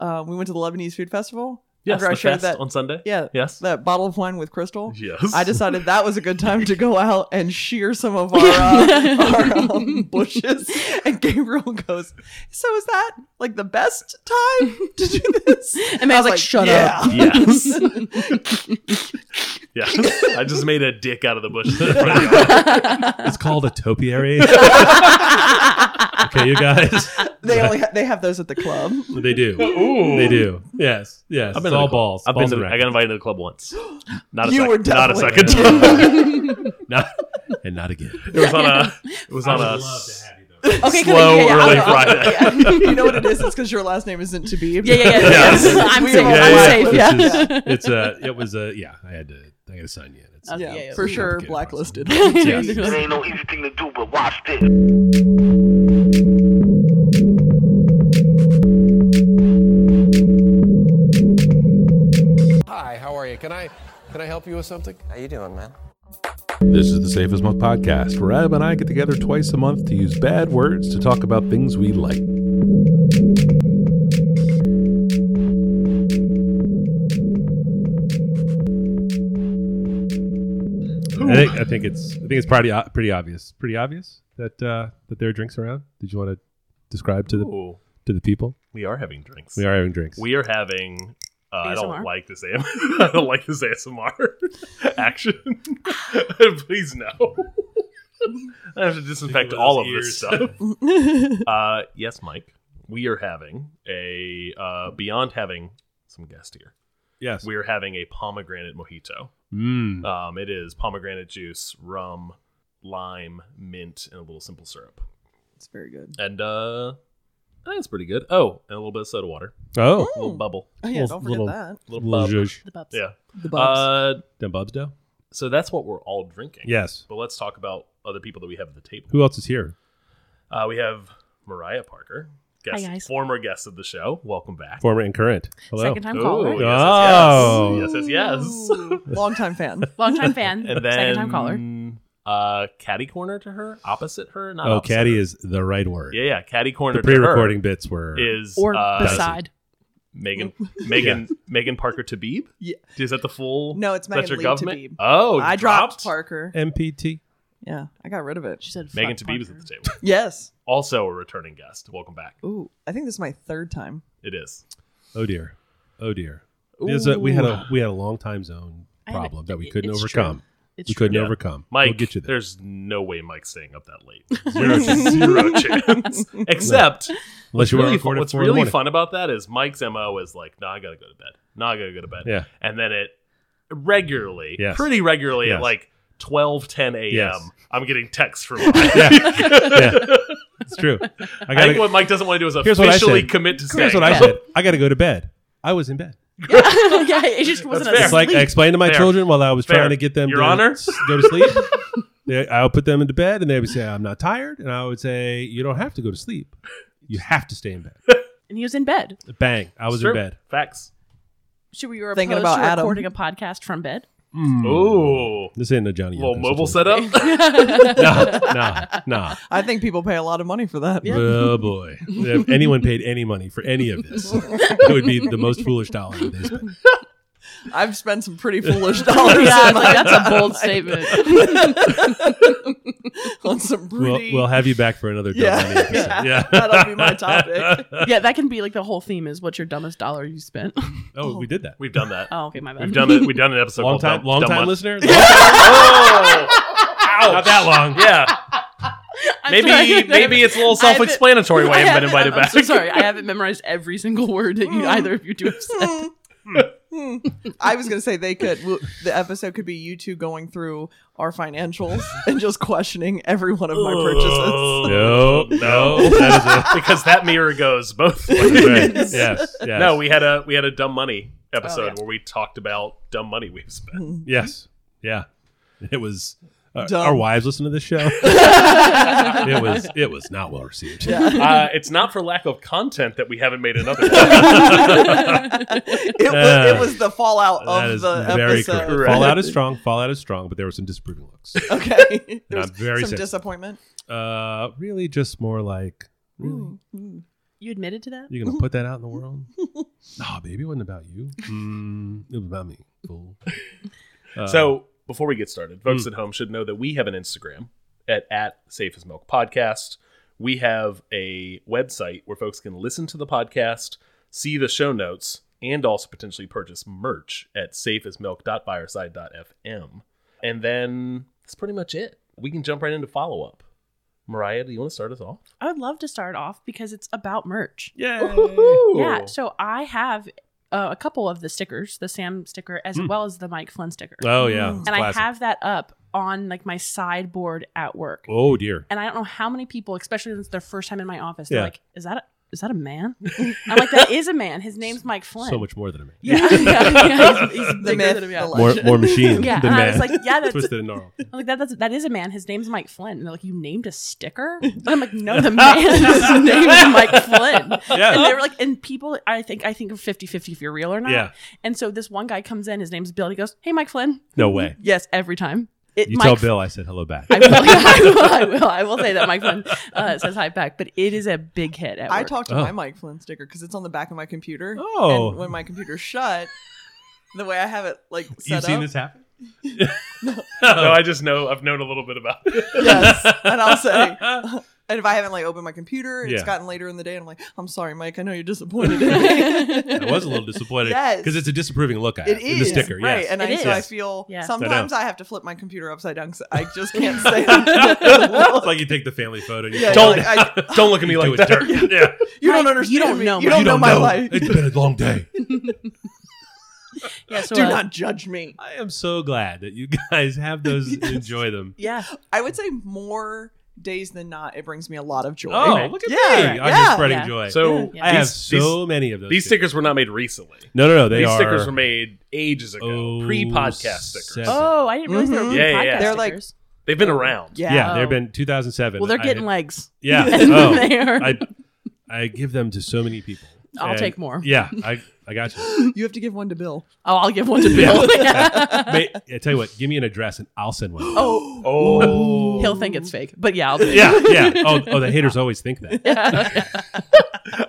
uh, we went to the Lebanese Food Festival. Yes, After I the shared fest that- on Sunday. Yeah, Yes. that bottle of wine with Crystal. yes. I decided that was a good time to go out and shear some of our, uh, our um, bushes. And Gabriel goes, "So is that like the best time to do this?" And Matt's like, "Shut up." Yes. yes. I just made a dick out of the bush. It's called a topiary. okay, you guys. They only ha- they have those at the club. They do. Ooh. They do. Yes. Yes. I've I've been to the been it's all club. balls. I've been balls to, and I rackets. got invited to the club once. Not a You second. were not a second definitely- time. not, and not again. It was on a. It was on a. you though. Okay, 'cause- Slow, yeah, yeah, early I'll- I'll- Friday. Yeah. You know what it is? It's because your last name isn't to be. Yeah, yeah, yeah. Yes. yeah. I'm We safe. were I'm all safe. Yeah. It's, just- it's a. It was a. Yeah, I had to. I got to sign you. in. It's, Okay, Yeah, yeah, yeah. for it's a sure, complicated blacklisted. process. Yes. Yes. It ain't no easy thing to do, but watch this. Hi, how are you? Can I can I help you with something? How you doing, man? This is the Safest Month podcast, where Adam and I get together twice a month to use bad words to talk about things we like. I think, I think it's. I think it's pretty o- pretty obvious. Pretty obvious that uh, that there are drinks around. Did you want to describe to the Ooh. to the people? We are having drinks. We are having drinks. We are having. Uh, I don't ASMR? like this. AM, I don't like this ASMR action. Please no. I have to disinfect with all of those this ears. stuff. uh, yes, Mike. We are having a uh, beyond having some guest here. yes. We are having a pomegranate mojito. Mm. Um, it is pomegranate juice, rum, lime, mint, and a little simple syrup. It's very good. And uh, I think it's pretty good. Oh, and a little bit of soda water, Oh. a Hmm. little bubble, Oh yeah, Little- don't forget little- that. a little Little bub. zhuzh. The pups. Yeah. The bubs. Uh, Them bubs dough? so that's what we're all drinking. Yes. But let's talk about other people that we have at the table. Who else is here? Uh, we have Mariah Parker, guest, Hi, guys. former guest of the show. Welcome back. Former and current. Hello. Second time Ooh, caller. yes, Oh. yes, yes, yes, yes. Long time fan. Long time fan. and then Second time caller. Uh, catty corner to her, opposite her. Not Oh, opposite caddy her. is the right word. yeah, yeah. Catty corner. The pre-recording bits were. to her is Or uh, beside. Megan Megan Megan Parker Tabib. Yeah. is that the full? No, it's that's Megan your Lee government. Tabib. Oh, I dropped Parker. MPT. Yeah, I got rid of it. She said, Megan "Fuck Tabib is at Parker." the table. Yes. Also a returning guest. Welcome back. Ooh, I think this is my third time. It is. Oh dear. Oh dear. There's a- we had a we had a long time zone I had a- problem that we it- couldn't it's overcome. true. It's We true. couldn't Yeah. overcome. Mike, we'll get you there. there's no way Mike's staying up that late. Zero, zero chance. Except Unless you want to really record fun, it what's four in the really morning. fun about that is Mike's MO is like, no, I gotta go to bed. No, I gotta go to bed. Yeah. And then it regularly, Yes. pretty regularly at Yes. like 12, 10 a.m. Yes. I'm getting texts from Mike. Yeah. It's true. I I think gotta. what Mike doesn't want to do is Here's what I officially said. commit to Here's staying what I up. said. I gotta go to bed. I was in bed. yeah, it just wasn't fair. a It's like I explained to my Fair. children while I was Fair. trying to get them Your to Honor? s- go to sleep. They- I would put them into bed, and they would say, "I'm not tired," and I would say, "You don't have to go to sleep. You have to stay in bed." and he was in bed. Bang! I was It's true. in bed. Facts. Should we were Thinking opposed about to Adam. recording a podcast from bed? Ooh. Hmm. This ain't a Johnny. Little Yelp mobile situation. setup. Oh. Nah, nah, nah. I think people pay a lot of money for that. Oh boy! If anyone paid any money for any of this, it would be the most foolish dollar that they spent. I've spent some pretty foolish Oh, dollars. yeah, in it's my like that's a bold life statement. on some We'll, pretty. we'll have you back for another. Yeah. Dumb money episode. Yeah. That'll be my topic. yeah, that can be like the whole theme is what's your dumbest dollar you spent. Oh, we did that. We've done that. oh, okay, my bad. We've done it. We've done an episode Long called time, Dumb- long Dumb time Month. listener. Ouch. Not that long. Yeah. I'm sorry. Maybe maybe it's a little I haven't- self-explanatory why I haven't been I invited I'm back. so sorry, I haven't memorized every single word that you either of you two have said. Hmm. I was gonna say they could. w- The episode could be you two going through our financials and just questioning every one of my purchases. No, no, that because that mirror goes both ways. is it. Right. Yes, yes. No, we had a we had a dumb money episode Oh, yeah. where we talked about dumb money we've spent. yes, yeah. It was. Uh, Dumb. our wives listen to this show. it was. It was not well received. uh, it's not for lack of content that we haven't made another. one. Oh. It was, it Uh, was the fallout That of is the very episode. correct. Fallout is strong. Fallout is strong, but there were some disapproving looks. Okay, there was I'm very some sensitive. disappointment. Uh, really, just more like really. Mm. You You admitted to that? You're gonna put that out in the world? nah, baby, it wasn't about you. Mm, it was about me. Fool. Uh, Hmm. So before we get started, folks at home should know that we have an Instagram at at Safe as Milk Podcast. We have a website where folks can listen to the podcast, see the show notes, and also potentially purchase merch at safeasmilk.fireside.fm. And then that's pretty much it. We can jump right into follow up. Mariah, do you want to start us off? I would love to start off because it's about merch. Woohoo! Uh, Yeah, so I have uh, a couple of the stickers, the Sam sticker as well as the Mike Flynn sticker. oh yeah, it's and Hmm. classic. I have that up on like my sideboard at work. Oh dear. And I don't know how many people, especially since it's their first time in my office, Yeah. they're like, "Is that a, is that a man?" I'm like, "That is a man. His name's Mike Flynn." So much more than a man. Yeah, yeah, yeah. He's, he's The bigger myth, than a man. the More, more machine Yeah, than and I man. was like, "Yeah, that's." Twisted and gnarled. I'm like that, that's that is a man. His name's Mike Flynn. And they're like, you named a sticker? And I'm like, no, the man's name is Mike Flynn. Yeah. And they were like, and people, I think, I think of 50-50 if you're real or not. Yeah. And so this one guy comes in. His name's Bill. And he goes, hey, Mike Flynn. No way. Yes, every time. It, You Mike tell Bill I said hello back. I will, I will. I will. I will say that Mike Flynn uh, says hi back, but it is a big hit. At I work. talked to Oh. my Mike Flynn sticker because it's on the back of my computer. Oh. And when my computer's shut, the way I have it like set You've up. seen this happen? No, I just know I've known a little bit about it. Yes. and I'll say. And if I haven't like opened my computer, it's Yeah. gotten later in the day, and I'm like, I'm sorry, Mike. I know you're disappointed. in me." I was a little disappointed Yes. because it's a disapproving look. I have It in is the sticker. right, Yes. and It I, so I is. feel Yeah. sometimes I I, have to flip my computer upside down because I just can't say. it. it's like you take the family photo. You Yeah, fold you're it like, Don't look at me into like a that. dirt. Yeah. you don't Mike, understand. you don't me. know You my- don't You know don't my know. life. It's been a long day. Yeah, so, Do uh, not judge me. I am so glad that you guys have those and enjoy them. Yeah, I would say more days than not, it brings me a lot of joy. Oh, look at Yeah, me! I'm yeah. just spreading Yeah. joy. So Yeah. I have these- so these- many of those. These stickers were not made recently. No, no, no. They These are stickers were made ages ago, Oh, pre-podcast stickers. seven. Oh, I didn't realize they were Mm-hmm. Mhm. Yeah, yeah, podcast yeah. They're like- stickers. They've been around. Yeah. Yeah, they've Oh. been 2007. well, they're I- getting legs. yeah. And Oh, they are. I I give them to so many people. I'll And- take more. Yeah, I I got you. You have to give one to Bill. oh, I'll give one to Bill. Mate, I tell you what, give me an address and I'll send one. Oh, Oh, he'll think it's fake, but yeah, I'll do it. Yeah, yeah. Oh, oh, the haters always think that.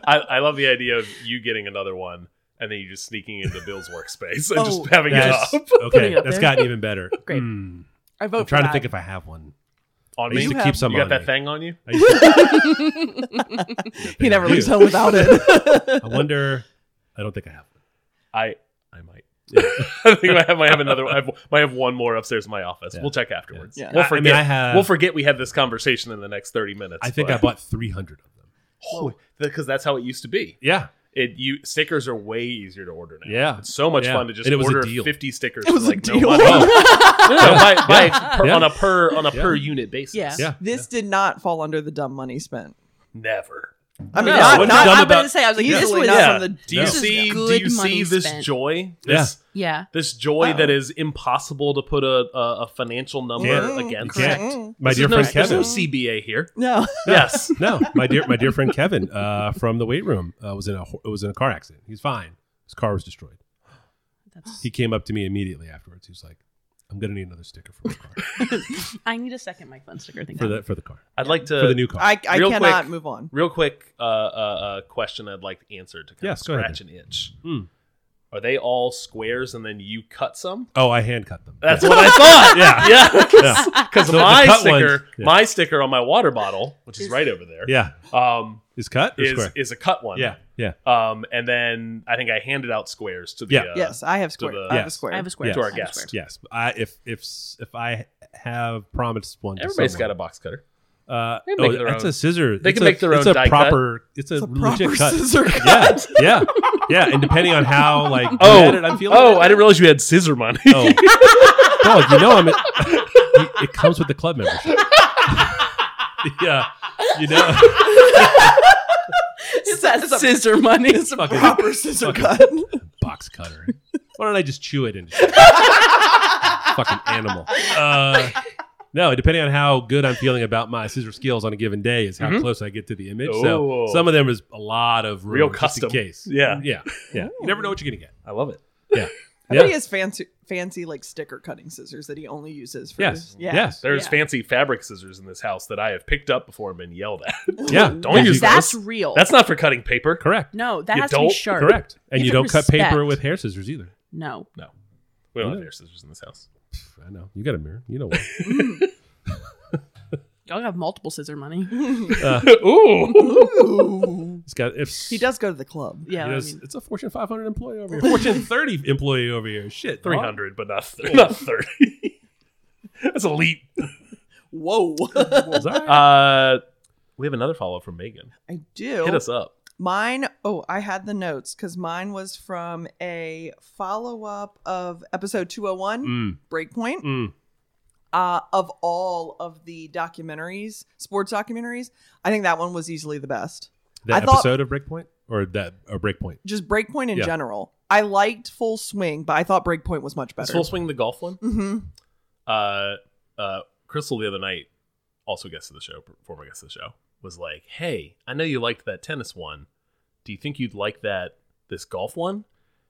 I, I love the idea of you getting another one and then you just sneaking into Bill's workspace and Oh, just having it That's- up Okay, Putting it up that's there. gotten even better. Great. Mm. I vote. I'm trying to think if I have one. on I me. used You, to have- keep some got on that me. thing on you? I used to- he never I do. leaves home without it. I wonder. I don't think I have one. I I might. I think I have, might have another. I have, might have one more upstairs in my office. Yeah. We'll check afterwards. Yeah. We'll I mean, forget. I have- We'll forget we had this conversation in the next thirty minutes. I think I bought 300 of them. because that's how it used to be. Yeah. It you stickers are way easier to order now. Yeah. it's so much Yeah. fun to just And it was a order deal. Oh. fifty stickers. It was for, a like no deal. money. No, by- by- per- Yeah. on a per on a Yeah. per unit basis. Yeah. Yeah. this did not fall under the dumb money spent. never. I mean, No, not, what's not I was dumb about- about to say, I was like, this easily was, not Yeah. from the. Do you This dumb is see? Do good you see money this spent. joy? Yeah. This yeah, this joy Wow. that is impossible to put a a, a financial number Can't. Mm-hmm. Mm, against. You can't. Mm. My This dear is no- friend There's Kevin. no CBA here. No, Yes. No, my dear, my dear friend Kevin uh, from the weight room uh, was in a ho- was in a car accident. He's fine. His car was destroyed. That's- He came up to me immediately afterwards. He was like, "I'm gonna need another sticker for the car I need a second Mike Flynn sticker. Thing for the for the car I'd like to for the new car." I, I Real cannot quick. move on. real quick uh, uh, uh, question I'd like answered to kind Yes, of go ahead. scratch an itch. Hmm. Are they all squares and then you cut some? oh, I hand cut them. That's yeah. what I thought. Yeah. yeah, because So the my cut sticker, ones- yeah. my sticker on my water bottle, which is right over there, yeah. um, Is cut or is square? is a cut one. yeah, yeah. Um, and then I think I handed out squares to the Yeah. uh, yes, I have square. to the- I have a Yes. square. I have a square Yeah. To our I have a guest. square. Yes, I, if if s- if I have promised one, to Everybody's got a someone, box cutter. got a. Uh, They make oh, their that's own. a scissor. They it's can a- make their it's own a die cut. proper. It's a, It's a legit proper cut. scissor cut. Yeah, yeah, yeah. And depending on how like Oh. bad it I'm feeling. Oh, I didn't realize you had scissor money. Oh, dog, you know I'm. it, it comes with the club membership. yeah, you know. It's that scissor money. It's a Fucking- proper scissor fucking- cut. box cutter. Why don't I just chew it into shit? fucking animal? Uh, no, depending on how good I'm feeling about my scissor skills on a given day is how Mhm. close I get to the image. Oh. So some of them is a lot of room Real just custom. in case. Yeah. yeah, yeah. You never know what you're gonna get. I love it. I Yeah. bet he has fancy, fancy like sticker cutting scissors that he only uses for. Yes. Yeah. Yes. There's Yeah. fancy fabric scissors in this house that I have picked up before and been yelled at. Yeah. Don't use that. That's those. real. That's not for cutting paper. Correct. no. That You has to be don't- sharp. Correct. And you Give don't it cut paper respect. with hair scissors either. No. No, we don't have hair scissors in this house. I know. You got a mirror. You know what? Y'all have multiple scissor money. Uh. Ooh, It's got if He does go to the club. Yeah. you know, I it's, mean, it's a Fortune 500 employee over here. Fortune 30 employee over here. Shit. three hundred, but not th- not thirty. That's a leap. Whoa. It's all right. Uh, we have another follow up from Megan. I do. Hit us up. Mine, oh, I had the notes because mine was from a follow up of episode 201, Mm. Breakpoint. Mm. Uh, of all of the documentaries, sports documentaries, I think that one was easily the best. That I thought- episode of Breakpoint or that or Breakpoint. Just Breakpoint in Yeah. general. I liked Full Swing, but I thought Breakpoint was much Is better. full swing the golf one? hmm uh, uh, Crystal the other night, also guest of the show, former guest of the show, was like, "Hey, I know you liked that tennis one. Do you think you'd like that this golf one?"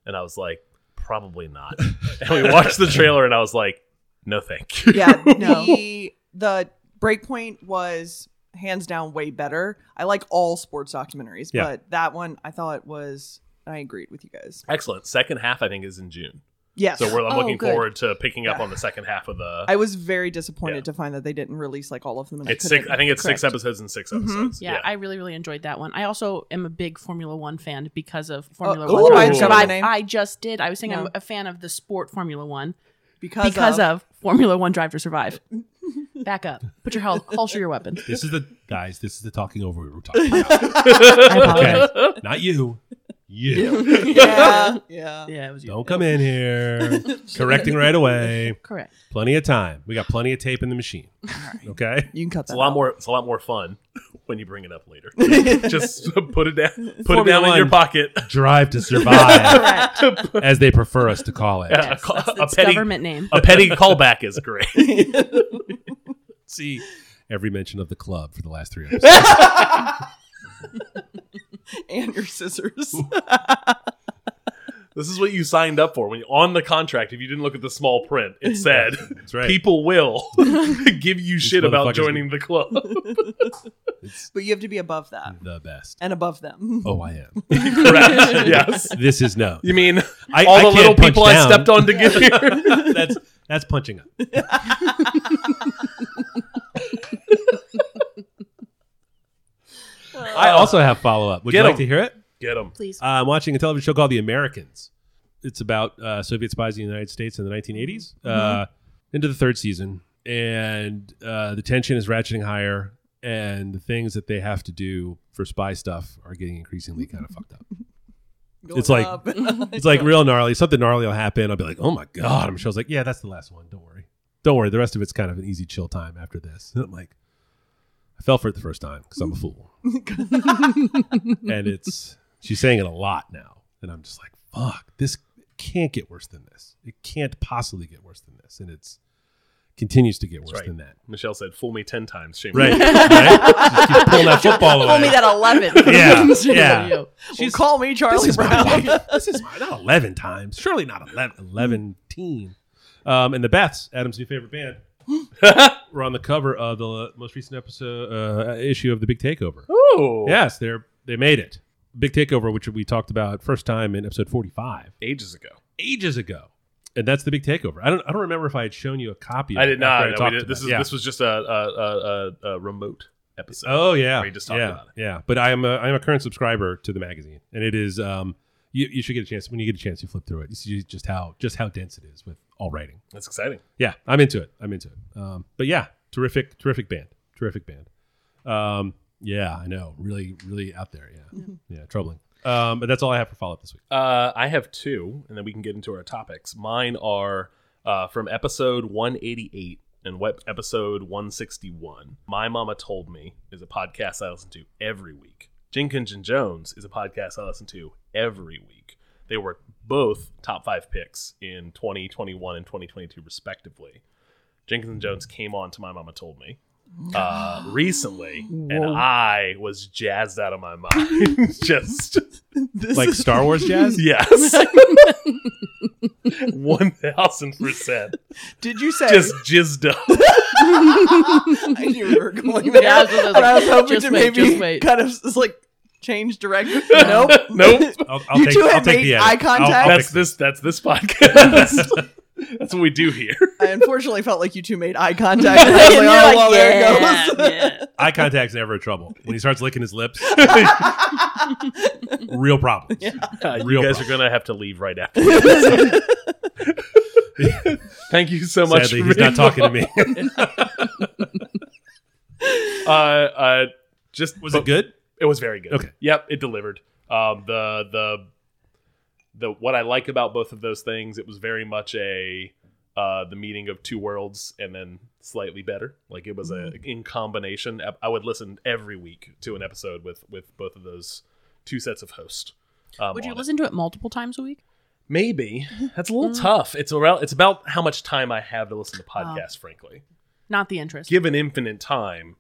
And I was like, "Probably not." and we watched the trailer, and I was like, "No, thank you." Yeah, the the Breakpoint was hands down way better. I like all sports documentaries, Yeah. but that one I thought was. I agreed with you guys. Excellent. Second half, I think, is in June, Yes. so we're I'm Oh, looking good. forward to picking up Yeah. on the second half of the. I was very disappointed Yeah. to find that they didn't release like all of them. and it's six. couldn't- I think it's six correct. episodes and six Mhm. episodes. yeah, I really, really enjoyed that one. I also am a big Formula One fan because of Formula Oh, One. ooh, Drive I've to got Survive. my name. I just did. I was saying I'm No. a fan of the sport Formula One because, because of, of Formula One Drive to Survive. Back up. Put your hel- holster your weapon. This is the guys, this is the talking over we were talking about. I apologize. Not you. You. yeah, yeah. Yeah, it was you. Don't come in here. Correcting right away. Correct. Plenty of time. We got plenty of tape in the machine. Okay. You can cut that. It's a lot out. more. It's a lot more fun when you bring it up later. Just put it down. Put Formula it down in your One. pocket. Drive to survive, Correct. as they prefer us to call it. Yeah, a, ca- That's a its petty government name. a petty callback is great. See every mention of the club for the last three episodes. and your scissors. This is what you signed up for when you, on the contract. If you didn't look at the small print, it said That's right. people will give you shit motherfuckers about joining the club. It's but you have to be above that Hmm. the best. and above them. Oh, I am. Correct. Yes. This is no. You mean I- all I the can't little punch people I down. stepped on to get here? that's that's punching up. I also have follow up. Would Get you like 'em. to hear it? Get them. Please. Uh, I'm watching a television show called The Americans. It's about uh, Soviet spies in the United States in the 1980s, uh, into the third season, and uh, the tension is ratcheting higher, and the things that they have to do for spy stuff are getting increasingly kind of fucked up. It's like- It's like real gnarly. Something gnarly will happen. I'll be like, oh my god. I'm sure I was like, yeah, that's the last one. Don't worry. Don't worry. The rest of it's kind of an easy chill time after this. And I'm like, I fell for it the first time because I'm a fool. and it's she's saying it a lot now, and I'm just like, fuck, this can't get worse than this. It can't possibly get worse than this, and it's continues to get worse right. than that. Michelle said, "Fool me ten times, shame Right. on you." right? Just keep pulling that football away. Told me that 11. Yeah, Shame on yeah. you. well, call me Charlie Brown. my wife. This is my, not 11 times. Surely not 11, 11 team. Um, and the Beths, Adam's new favorite band, were on the cover of the most recent episode uh, issue of the Big Takeover. Oh, Yes, they're they made it. Big Takeover, which we talked about first time in episode 45, ages ago. ages ago. And that's the Big Takeover. I don't I don't remember if I had shown you a copy. Of I it did not. after no, we talked did- this is about it. Yeah. this was just a a, a, a, a remote episode. Oh yeah, We just talked yeah, about it. Yeah, but I am a I am a current subscriber to the magazine, and it is um you, you should get a chance when you get a chance you flip through it. You see just how just how dense it is with all writing. That's exciting. Yeah, I'm into it. I'm into it. Um, but yeah, terrific, terrific band, terrific band. Um, yeah, I know, really, really out there. Yeah, yeah, troubling. Um, but that's all I have for follow up this week. Uh, I have two, and then we can get into our topics. Mine are uh, from episode 188 and web episode 161. My Mama Told Me is a podcast I listen to every week. Jenkins and Jones is a podcast I listen to every week. They were both top five picks in 2021 and 2022, respectively. Jenkins and Jones came on to My Mama Told Me. uh, recently, and I was jazzed out of my mind. Just This like is- Star Wars jazz. yes, one thousand percent. Did you say? Just jizzed up. I knew you were going there. Yeah, I was just- I was and I was like, hoping just to wait, just maybe wait. kind of s- like change direction. nope. Nope. I'll, I'll You take, two I'll had take made the edit. eye I'll- contact? I'll That's fix this. That's this podcast. that's what we do here. I unfortunately felt like you two made eye contact. and I was like, oh, You're like, well, there yeah, it goes. yeah. it. Eye contact's never a trouble. When he starts licking his lips, real problems. Uh, you Real guys problem. are gonna have to leave right after. this. Thank you so much. Sadly, for he's being not talking to me. Uh, uh, just Was it good? It was very good. Okay. Yep, it delivered. Um, the the the what I like about both of those things, it was very much a uh, the meeting of two worlds and then slightly better. Like it was a in combination. I- I would listen every week to an episode with with both of those two sets of host. Um, Would you on it. listen to it multiple times a week? Maybe that's a little tough. It's around. It's about how much time I have to listen to podcasts. Frankly, Not the interest. given infinite time,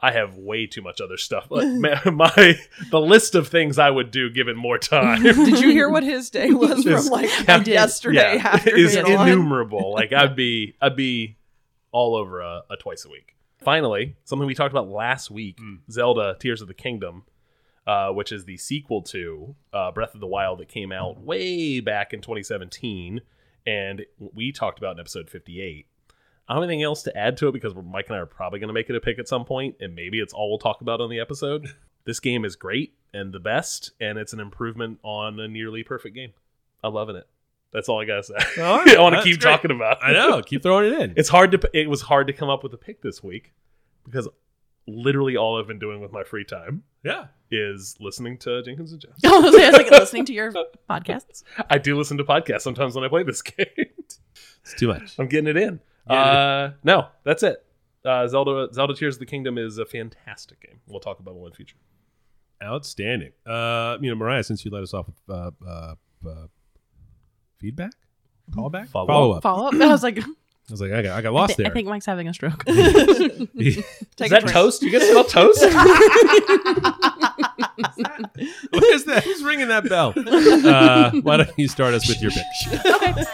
I have way too much other stuff. Like, ma- my the list of things I would do given more time Did you hear what his day was from like count- yesterday yeah, after is being on? innumerable. Like I'd be I'd be all over a, a twice a week. Finally, something we talked about last week: Zelda Tears of the Kingdom, uh, which is the sequel to uh, Breath of the Wild that came out way back in 2017, and we talked about in episode 58. I don't have anything else to add to it because Mike and I are probably going to make it a pick at some point, and maybe it's all we'll talk about on the episode. This game is great and the best, and it's an improvement on a nearly perfect game. I'm loving it. That's all I gotta say. All right. I want to That's keep great. talking about. I know. Keep throwing it in. It's hard to. It was hard to come up with a pick this week because literally all I've been doing with my free time yeah. is listening to Jenkins and Jones. I was like listening to your podcasts. I do listen to podcasts sometimes when I play this game. It's too much. I'm getting it in. Uh, no, that's it. Uh, Zelda Zelda Tears of the Kingdom is a fantastic game. We'll talk about it in the future. Outstanding. Uh, you know, Mariah, since you let us off with uh, uh, uh, feedback, callback, Follow-up. follow up. I Follow up. I was like, was like, I got, I got I, lost thi- I there. think Mike's having a stroke. Take is a that drink. toast? You guys smell toast? what is that? Who's ringing that bell? Uh, why don't you start us with your pick?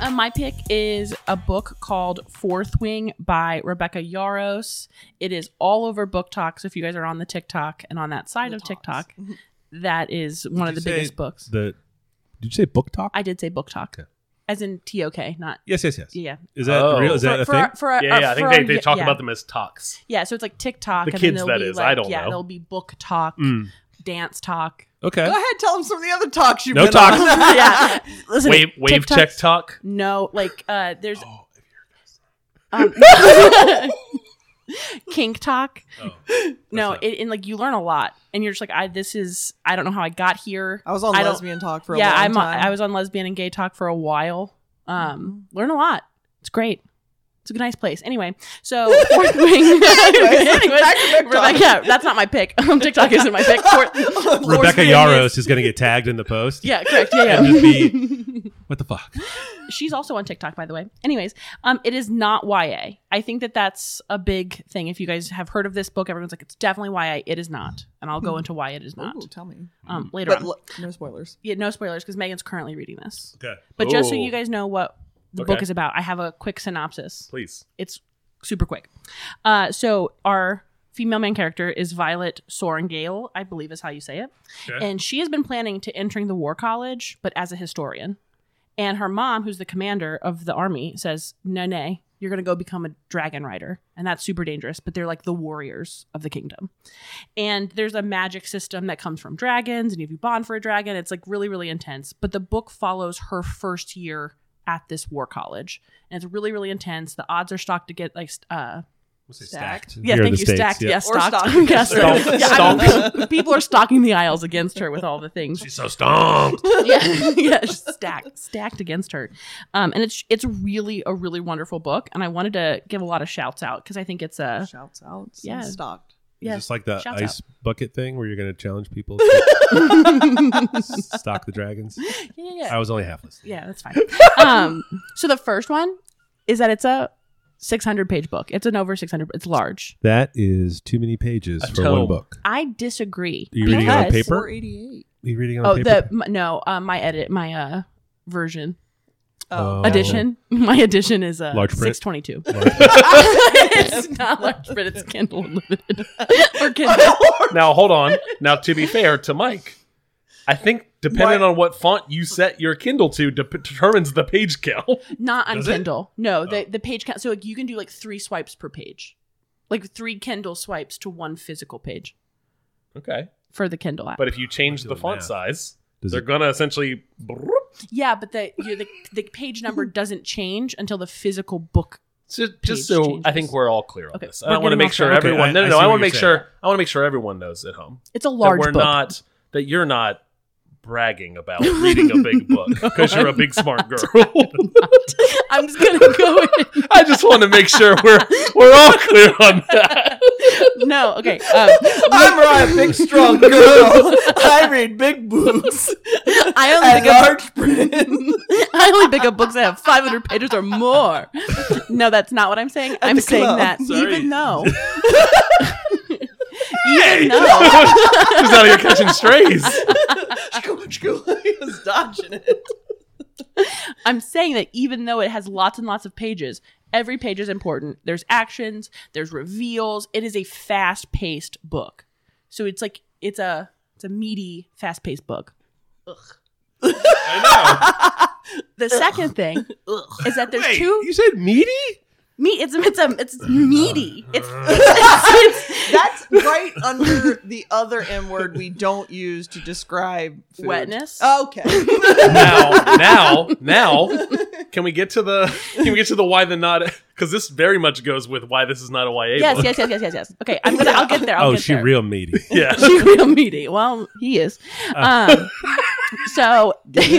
Uh, my pick is a book called Fourth Wing by Rebecca Yaros. It is all over Book Talk. So if you guys are on the TikTok and on that side of TikTok, Mm-hmm. that is one of the you say biggest books. The did you say book talk? I did say Book Talk, as in T O K, not yes, yes, yes. yeah. Is that Oh. real? Is that for, a for, thing? for our- yeah, yeah, I think for they, our- they talk yeah. about them as talks. Yeah, so it's like TikTok. The and kids, then there'll that be is. Like, I don't yeah, know. there'll be book talk, Mm. dance talk. Okay. Go ahead, tell him some of the other talks you've No been talks. on. yeah, listen. Wave wave TikToks- check talk. No, like uh, there's Oh, um, kink talk. oh. No, not- it, and like you learn a lot, and you're just like, I this is I don't know how I got here. I was on I don't- lesbian talk for a yeah, long I'm time. I was on lesbian and gay talk for a while. Um, learn a lot. It's great. It's a nice place. Anyway, so fourth wing. Anyways, back to TikTok. Rebecca, yeah, that's not my pick. Um, TikTok isn't my pick. Fourth, Rebecca Yaros is going to get tagged in the post. yeah, correct. Yeah, yeah. And just be, what the fuck? She's also on TikTok, by the way. Anyways, um, it is not YA. I think that that's a big thing. If you guys have heard of this book, everyone's like, it's definitely YA. It is not, and I'll go into why it is not Hmm. Ooh, tell me. um, later But on. l- no spoilers. yeah, no spoilers because Megan's currently reading this. Okay. But just so Ooh. you guys know what the Okay. book is about, I have a quick synopsis. Please. It's super quick. Uh, so our female main character is Violet Sorengale, I believe is how you say it. Okay. And she has been planning to entering the war college, but as a historian. And her mom, who's the commander of the army, says, No, nay, you're going to go become a dragon rider. And that's super dangerous, but they're like the warriors of the kingdom. And there's a magic system that comes from dragons. And if you bond for a dragon, it's like really, really intense. But the book follows her first year at this war college. And it's really, really intense. The odds are stocked to get like, st- uh, We'll say Stacked. yeah, Here in thank the you. States, Stacked. yeah. Yeah, stocked. stalked. Yeah, so- Stalked. yeah, I don't think- people are stocking the aisles against her with all the things. She's so stomped. yeah, yeah, just stacked, stacked against her. Um, and it's it's really a really wonderful book, and I wanted to give a lot of shouts out because I think it's a Shouts out. Uh, Yeah. Stocked. Yeah. Just like the Shouts ice bucket thing where you're going to challenge people to stock the dragons. Yeah, yeah, yeah. I was only half listening. Yeah, that's fine. um, so the first one is that it's a 600 page book. It's an over 600. It's large. That is too many pages A for one tome. book. I disagree. Are you reading it on because- paper? Are 488. you reading on Oh, paper? the m- no, uh, my edit, my uh version Oh. Oh. edition. My edition is a Large print? 622. Large it's not large print. It's Kindle Unlimited or Kindle. Now hold on. Now to be fair to Mike, I think depending on what font you set your Kindle to de- determines the page count. Not on Does it? Oh. Kindle. No, the the page count. So like, you can do like three swipes per page, like three Kindle swipes to one physical page Okay, for the Kindle app. but if you change I'm the doing font math. size, Does they're it- gonna essentially. Yeah, but the you the, the page number doesn't change until the physical book. Just, Page just so I changes. think we're all clear on Okay, this. we're I don't want to getting make off sure track. Okay, everyone. I- no, I no, see no. I, what want you're to make saying. sure. I want to make sure everyone knows at home It's a that large we're book. not that you're not bragging about reading a big book because you're a big smart girl. I'm just gonna go. In. I just want to make sure we're we're all clear on that. No, okay. Um, I'm right, a big strong girl. I read big boobs I only and pick up, large print. I only pick up books that have 500 pages or more. No, that's not what I'm saying. I'm the saying club. that Sorry. even though. Hey, even though she's out here catching strays. he was dodging it. I'm saying that even though it has lots and lots of pages, every page is important. There's actions, there's reveals. It is a fast-paced book, so it's like it's a it's a meaty, fast-paced book. I The second thing is that there's two You said meaty? meat. It's it's a it's meaty. It's, That's right under the other M word we don't use to describe food. Wetness? Okay. Now, now, now, can we get to the can we get to the why the not? Because this very much goes with why this is not a YA yes, book. yes, yes, yes, yes, yes. Okay, I'm gonna. I'll get there. I'll oh, get she there. real meaty. Yes. Yeah. She real meaty. Well, he is. Uh. Um, so there's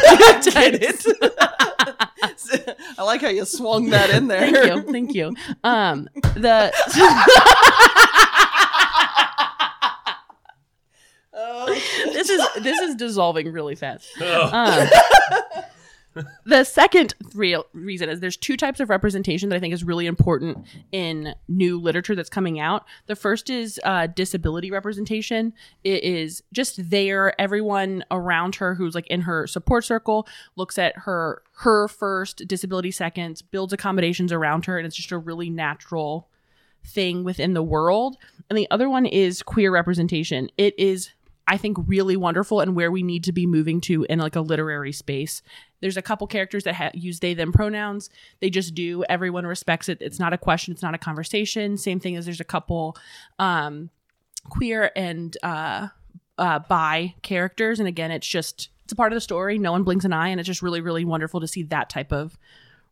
two types. I like how you swung that in there. Thank you, thank you. Um, the this is this is dissolving really fast. Oh. Um, the second real reason is there's two types of representation that I think is really important in new literature that's coming out. The first is uh, disability representation. It is just there. Everyone around her who's like in her support circle looks at her her first disability second, builds accommodations around her, and it's just a really natural thing within the world. And the other one is queer representation. It is I think really wonderful and where we need to be moving to in like a literary space. There's a couple characters that ha- use they them pronouns. They just do. Everyone respects it. It's not a question. It's not a conversation. Same thing as there's a couple um, queer and uh, uh, bi characters, and again, it's just it's a part of the story. No one blinks an eye, and it's just really really wonderful to see that type of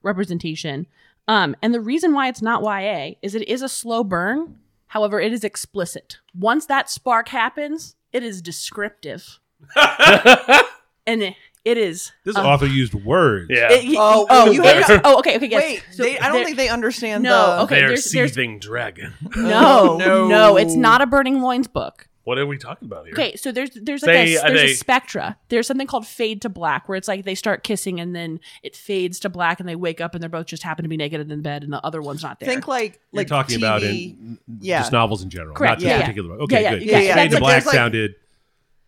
representation. Um, and the reason why it's not YA is it is a slow burn. However, it is explicit. Once that spark happens, it is descriptive. and it, it is. This um, author used words. yeah. it- Oh, oh, you there's- better- oh, okay, okay, yes. Wait, So they, I don't there- think they understand No, the. okay, They're there's- there's- seething dragon. no, No. no, it's not a burning loins book. What are we talking about here? Okay, so there's there's like They- a, there's they- a spectra. There's something called fade to black, where it's like they start kissing and then it fades to black, and they wake up and they're both just happen to be naked in bed, and the other one's not there. Think like You're like talking TV. about in Yeah. just novels in general, Correct, not just yeah, yeah. particular book. Okay, Yeah, yeah, good. yeah, yeah. Fade That's to like- black there's like- sounded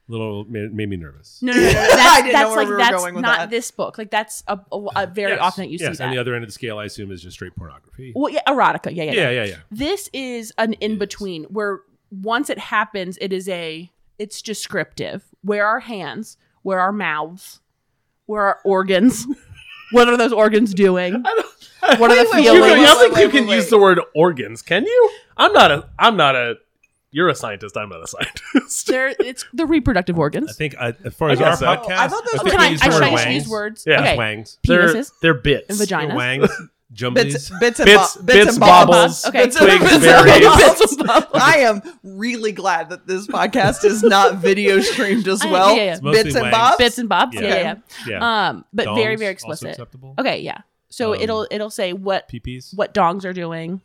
a little made, made me nervous. No, no, no. no. I That's, didn't know that's where like we were that's going with not that. this book. Like that's a, a, a very Yes, often that you yes, see and that. the other end of the scale, I assume, is just straight pornography. well, yeah, erotica. Yeah, yeah, yeah. yeah, yeah, yeah. This is an in between where once it happens, it is a it's descriptive. Where our hands, where our mouths, where our organs. what are those organs doing? What are the Wait, wait, wait, You feelings? know, I don't wait, think wait, you can wait, use wait. the word organs, can you? I'm not a. I'm not a. You're a scientist. I'm not a scientist. They're, it's the reproductive I organs. think uh, as far I as our guess so. podcast, I thought those Oh, think can we I, I, used should, the word I should wangs. use words? Yeah. Just Okay. wangs, They're, Penises they're bits. and vaginas. wangs, Bits, jumbies. bits, and Bits- bo- bits, and bobbles, Okay. Bits and- twigs, bits and berries. bobbles. Bits and bobbles. I am really glad that this podcast is not video streamed as I- well. yeah, yeah. It's mostly Bits and wangs. bobs. Bits and bobs. Yeah. Yeah, yeah, yeah. yeah, Um, but very, very explicit. acceptable. Okay, yeah. So Um, it'll it'll say what Peepees. what dongs are doing,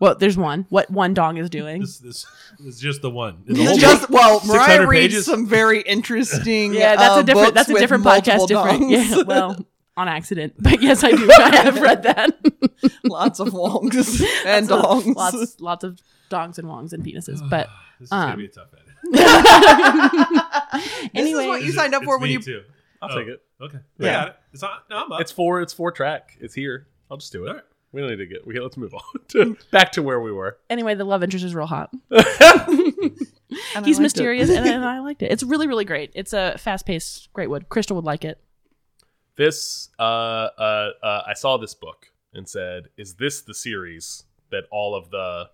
Well, there's one. What one dong is doing? This this this is just the one. The It's whole just well, 600 Mariah reads pages? some very interesting. Yeah, that's uh, a different. books That's a with different podcast. multiple Different. dongs. Yeah. Well, on accident, but yes, I do. I have read that. lots of wongs and Lots of- dongs. Lots, lots of dongs and wongs and penises. But book. this is gonna um, be a tough edit. This is anyway, what you It's- signed up for it's when me you. too. I'll Oh, take it. Okay, Yeah. I got it. It's on. No, I'm up. It's four. It's four track. It's here. I'll just do it. All right. We don't need to get. We let's move on to back to where we were. anyway, the love interest is real hot. and I He's liked it. mysterious, and, and I liked it. It's really, really great. It's a fast paced, great wood. Crystal would like it. This. Uh, uh. Uh. I saw this book and said, "Is this the series that all of the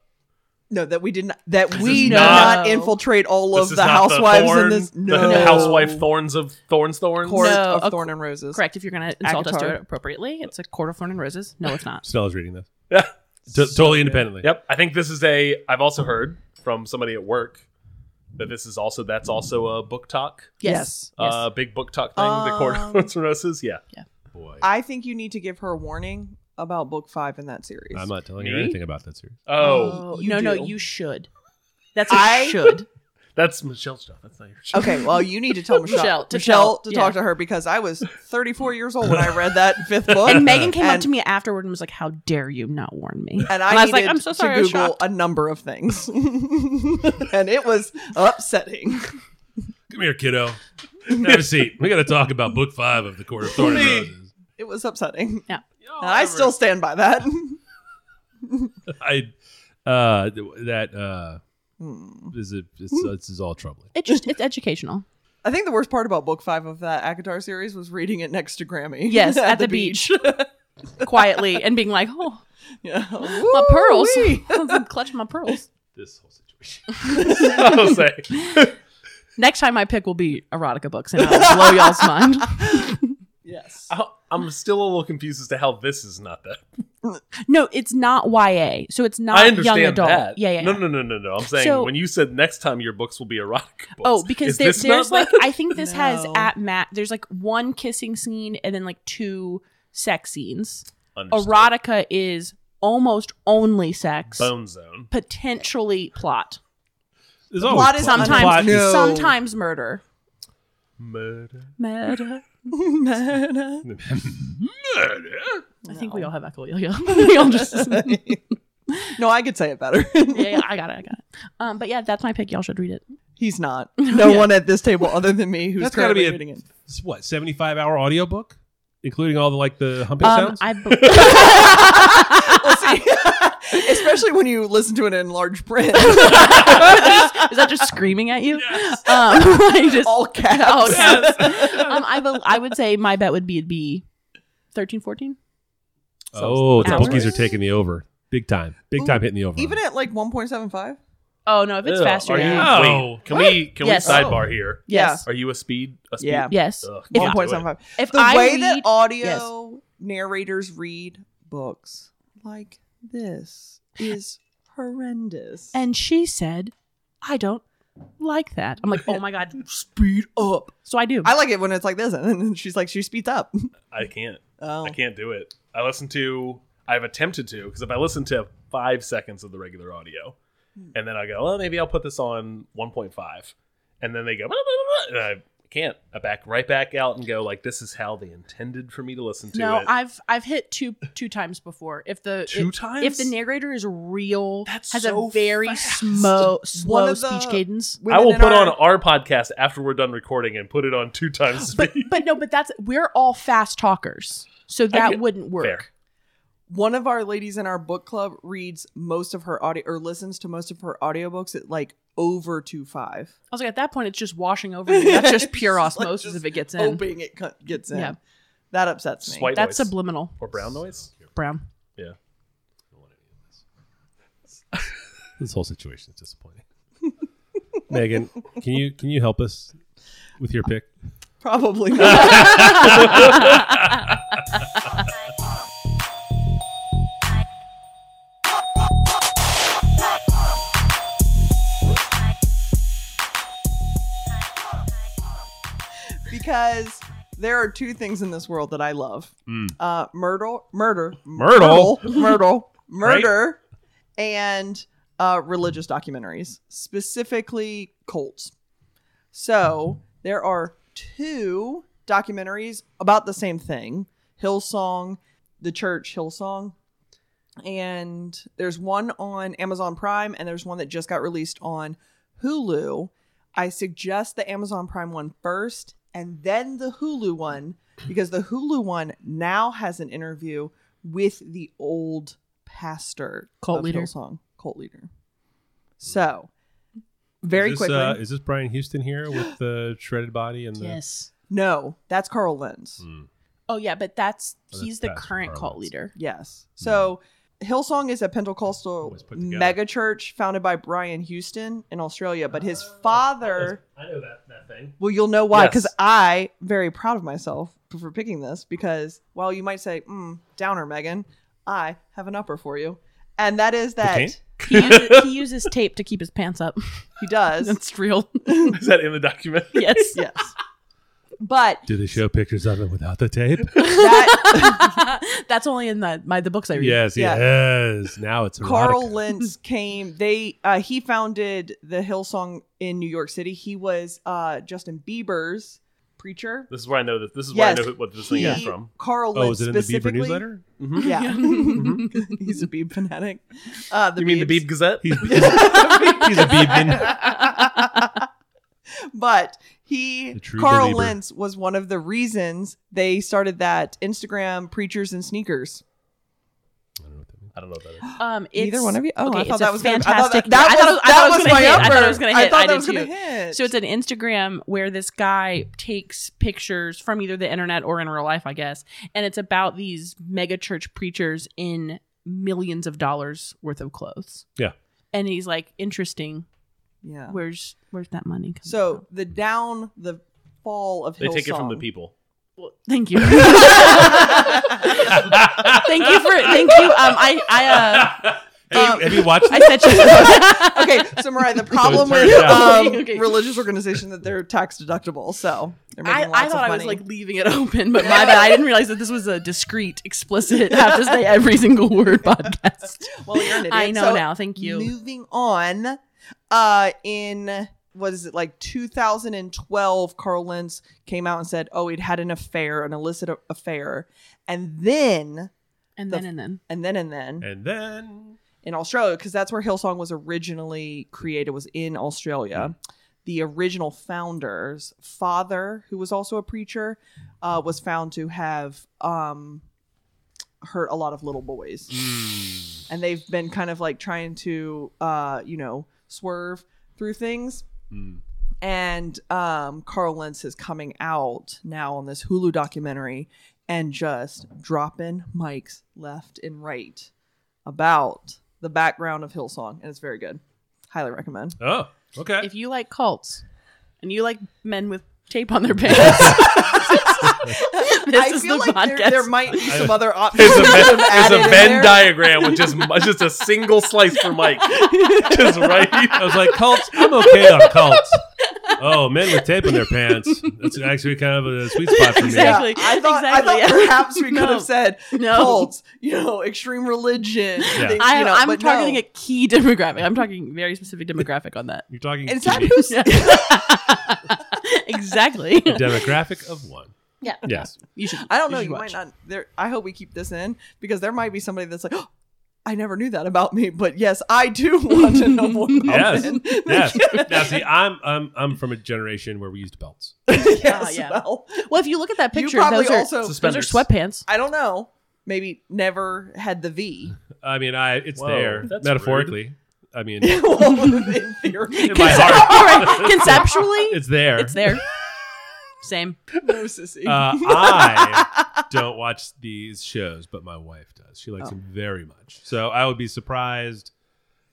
No, that we didn't. That This we is did not- not, infiltrate all this of is the not housewives in thorn- this. the No, housewife thorns of thorns thorns." court No. of a- thorn and roses. Correct. If you're going to insult us to Akatar. it appropriately, it's a court of thorn and roses. No, it's not. Stella's reading this Yeah. T- totally independently. Yep. I think this is a. I've also heard from somebody at work that this is also. That's also a book talk. Yes. Yes. Uh, big book talk thing. the court of Um, Thorns and roses. Yeah. Boy, I think you need to give her a warning about book five in that series. I'm not telling you Me? anything about that series. Oh, you no, no, do. you should. That's a I- should. that's Michelle's stuff. That's not your stuff. Okay, well, you need to tell Michelle, Michelle, Michelle, to to, tell- talk yeah. to her because I was 34 years old when I read that fifth book. And Megan came up and- to me afterward and was like, "How dare you not warn me?" And I, And I was like, needed "I'm so sorry, I to was Google shocked." a number of things. and it was upsetting. Come here, kiddo. Have a seat. We got to talk about book five of the Court of Thorns and Me. Roses. It was upsetting. Y'all And I ever- still stand by that. I uh that uh Hmm. is it it's, this is all troubling. It just it's educational. I think the worst part about book five of that Akatar series was reading it next to Grammy. Yes, at, the, beach, quietly, and being like, "Oh, yeah. my pearls! Woo-wee. I was like, clutching my pearls." This whole situation. I'll say. Next time my pick will be erotica books, and I'll blow y'all's mind. Yes. I'll- I'm still a little confused as to how this is not that. No, it's not YA, so it's not I young understand adult. that. Yeah, yeah. No, yeah. no, no, no, no. I'm saying So- when you said next time your books will be erotic books. Oh, because is there, this not there's like that? I think this has No. at Matt. There's like one kissing scene and then like two sex scenes. Understood. Erotica is almost only sex, bone zone. potentially plot. There's Oh, plot is the Sometimes, plot No. sometimes murder. Murder. Murder. I think we all have echolalia. we all just. yeah, no, I could say it better. yeah, I got it. I got it. Um, but yeah, that's my pick. Y'all should read it. He's not. No one at this table other than me who's That's gotta currently be a- reading it. It's what, seventy five hour audiobook? Including all the like the humping Um, sounds? I be- We'll see. Especially when you listen to it in large print. is that just screaming at you? Um, I just All caps. Oh, yes. um, I, bel I would say my bet would be it'd be 13, 14. oh, the sounds bookies right. are taking the over. Big time. Big Ooh, time hitting the over. Even at like 1.75? Oh, no, if it's Ugh, faster. Are you, yeah. No. wait, can we can Yes. we sidebar here? Oh. Yes. Are you a speed? A speed? Yeah. Yes. Ugh, If- can't do it. 1.75. If The I way read, that audio narrators read books like this is horrendous. and she said, I don't like that. I'm like, oh my God, speed up. So I do. I like it when it's like this, and then she's like, she speeds up. I can't. Oh, I can't do it. I listen to. I've attempted to because if I listen to five seconds of the regular audio, Hmm. and then I go, well, maybe I'll put this on 1.5, and then they go, "Blah, blah, blah, blah," and I can't. I back right back out and go like, this is how they intended for me to listen to no, it. I've I've hit two two times before. If the Two if, times? if the narrator is real, That's has so a very fast. smo- slow of the- speech cadence. I Women will in put on our podcast after we're done recording and put it on two times But speed. but no, but that's we're all fast talkers, so that get- wouldn't work. Fair. one of our ladies in our book club reads most of her audio or listens to most of her audiobooks at like over two five. I was like, at that point, it's just washing over. You. That's just pure It's like osmosis just if it gets in. hoping it co- gets in. Yeah. That upsets me. Just white That's noise. subliminal. or brown noise. Brown. Yeah. this whole situation is disappointing. Megan, can you can you help us with your pick? Probably not. because there are two things in this world that I love: uh, myrtle, murder, Myrtle? myrtle, myrtle, murder, and uh, religious documentaries, specifically cults. So there are two documentaries about the same thing Hillsong, the church Hillsong. And there's one on Amazon Prime, and there's one that just got released on Hulu. I suggest the Amazon Prime one first and then the Hulu one because the Hulu one now has an interview with the old pastor Cult of leader. Hillsong, cult leader. So, very is this, quickly. Uh, is this Brian Houston here with the shredded body and the? Yes. no, that's Carl Lenz. Oh yeah, but that's Oh, he's that's the Pastor current Carl cult Lentz. leader. Yes. So Hillsong is a Pentecostal Hmm. Always put together. megachurch founded by Brian Houston in Australia, but his father. Ah, I know that that thing. Well, you'll know why, Yes. because I very proud of myself for picking this. Because while you might say mm, downer, Megan, I have an upper for you, and that is that Okay. He uses, he uses tape to keep his pants up. he does. That's real. Is that in the document? yes. yes, but Do they show pictures of it without the tape? that That's only in the my the books I read. yes, Yeah. yes. Now it's Carl erotica. Lentz came. They uh, he founded the Hillsong in New York City. He was uh, Justin Bieber's preacher. This is where I know that. This is Yes. where I know what this thing is He- from. Carl Oh, Lentz is it in the specifically. Bieber newsletter? Yeah, Mm-hmm. he's a Beeb fanatic. Uh, the You mean the Biebs. Beeb Gazette? He's, he's a Beebman. But The he, true Carl believer. Lentz, was one of the reasons they started that Instagram preachers and sneakers. I don't know what that is. Um, it's, Either one of you? Oh, I okay, thought it's a that was gonna- I thought fantastic. that- that I thought was- it- I that thought it was gonna my hit. I thought upper. it was going I thought that was gonna to hit. did too. hit. So it's an Instagram where this guy takes pictures from either the internet or in real life, I guess, and it's about these mega church preachers in millions of dollars worth of clothes. Yeah. And he's like, interesting. Yeah. Where's where's that money? Coming So the down, the fall of They take it from the Hillsong- people. Thank you. thank you for thank you. Um, I I uh, Have you- have you watched? I set you. okay, so Mariah, the problem So it with turns out- um, Okay. religious organization that they're tax deductible, so they're making I, lots I thought of I money. was like leaving it open, but my bad. I didn't realize that this was a discreet, explicit, have to say every single word podcast. well, you're an idiot. I know So now. Thank you. Moving on, uh, in what is it like 2012, Carl Lentz came out and said, "Oh, he'd had an affair, an illicit a- affair," and then, and the- then and then. and then, and then and then in Australia, because that's where Hillsong was originally created, was in Australia. The original founder's father, who was also a preacher, uh, was found to have um, hurt a lot of little boys and they've been kind of like trying to uh you know swerve through things and um carl lentz is coming out now on this hulu documentary and just dropping mics left and right about the background of hillsong and it's very good highly recommend oh okay. If you like cults and you like men with tape on their pants, this i is feel the like there, podcast. there might be some other options It's a, Venn- it's added a in Venn there. diagram with just just a single slice for Mike, just I right. was like cults. I'm okay on cults. Oh, men with tape on their pants. That's actually kind of a sweet spot for me. Yeah, Exactly. I thought, Exactly, I thought yeah. perhaps we could No. have said No. cults, you know, extreme religion. Yeah. things, I, you know, I'm but targeting no. a key demographic. I'm talking very specific demographic on that. You're talking Is that to who's exactly. the demographic of one. Yeah. Yes. You should. I don't know. should You might watch. not. There. I hope we keep this in because there might be somebody that's like, "Oh, I never knew that about me, but yes, I do want to know more about Yes. men. Yes. Now see, I'm I'm I'm from a generation where we used belts. yes. Ah, yeah. Well, Well, if you look at that picture, you probably those are also. those are Suspenders. sweatpants. I don't know. Maybe never had the V. I mean, I it's Whoa, there that's metaphorically. I mean, well, in theory, in my heart, All right, conceptually, it's there. it's there. Same. no sissy. Uh, I don't watch these shows, but my wife does. She Oh. likes them very much. So I would be surprised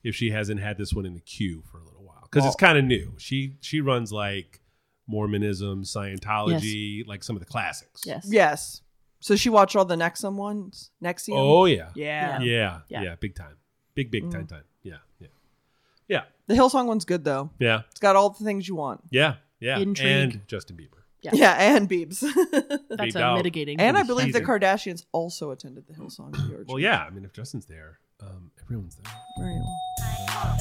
if she hasn't had this one in the queue for a little while because it's kind of new. She she runs like Mormonism, Scientology, like some of the classics. Yes. yes. So she watched all the Nexum ones. Nexium. Oh yeah. yeah. Yeah. Yeah. Yeah. Mm. Big time. Big big time time. Yeah. Yeah. Yeah. The Hillsong one's good though. Yeah. It's got all the things you want. Yeah. Yeah. Intrigue. And Justin Bieber. Yeah, and Beebs. That's Big a dog. mitigating. and I He's believe the amazing. Kardashians also attended the Hillsong New York. Well, yeah. I mean, if Justin's there, Um, everyone's there. Right.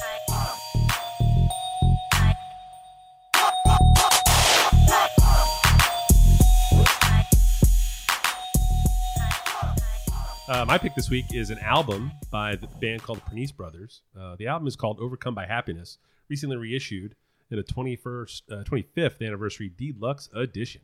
Uh, my pick this week is an album by the band called the Pernice Brothers. Uh, the album is called Overcome by Happiness, recently reissued in a 21st, uh, 25th anniversary deluxe edition.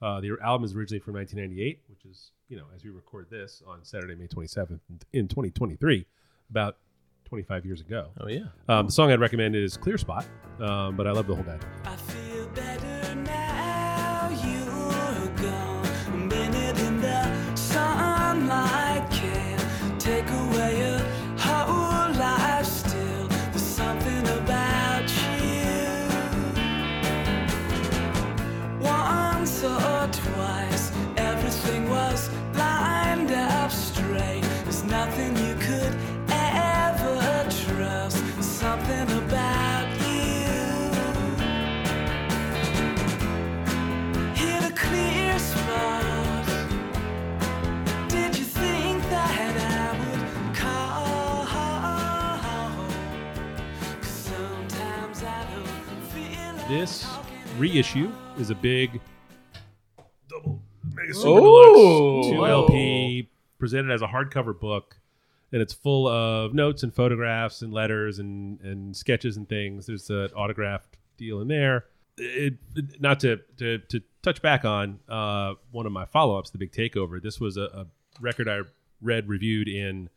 Uh, the album is originally from 1998, which is, you know, as we record this on Saturday, May 27th in 2023, about 25 years ago. Oh yeah. Um, the song I'd recommend is Clear Spot, um, but I love the whole band. I feel better now you're gone. Minute the sunlight can take away your whole life. Still, there's something about you. Once or twice, everything was lined up straight. There's nothing you could ever trust. There's something about you. Hit a clear spot. Did you think that I would call home? 'Cause sometimes I don't feel like This reissue is a big double mega Oh. super deluxe two LP presented as a hardcover book, and it's full of notes and photographs and letters and and sketches and things. There's an autographed deal in there. It, it- not to, to to touch back on uh, one of my follow ups, the Big Takeover. This was a, a record I read reviewed in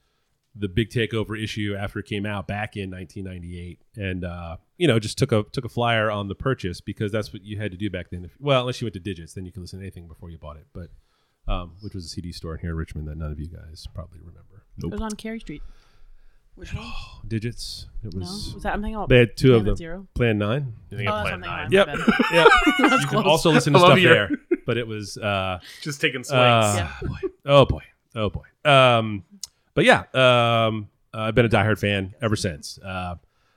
the big takeover issue after it came out back in 1998 and uh, you know just took a took a flyer on the purchase because that's what you had to do back then if, well unless you went to digits then you could listen to anything before you bought it but um, which was a cd store in here in richmond that none of you guys probably remember It was on Carey Street. Which one? digits it No, was was that I'm thinking about they had two of Planet them Zero? plan nine You Oh, think I that's planned something nine? I'm yep yep you can also listen to I love stuff your- there but it was uh Just taking swings. Uh, Oh boy. Oh boy. Um, but yeah, um, I've been a diehard fan ever since. Uh,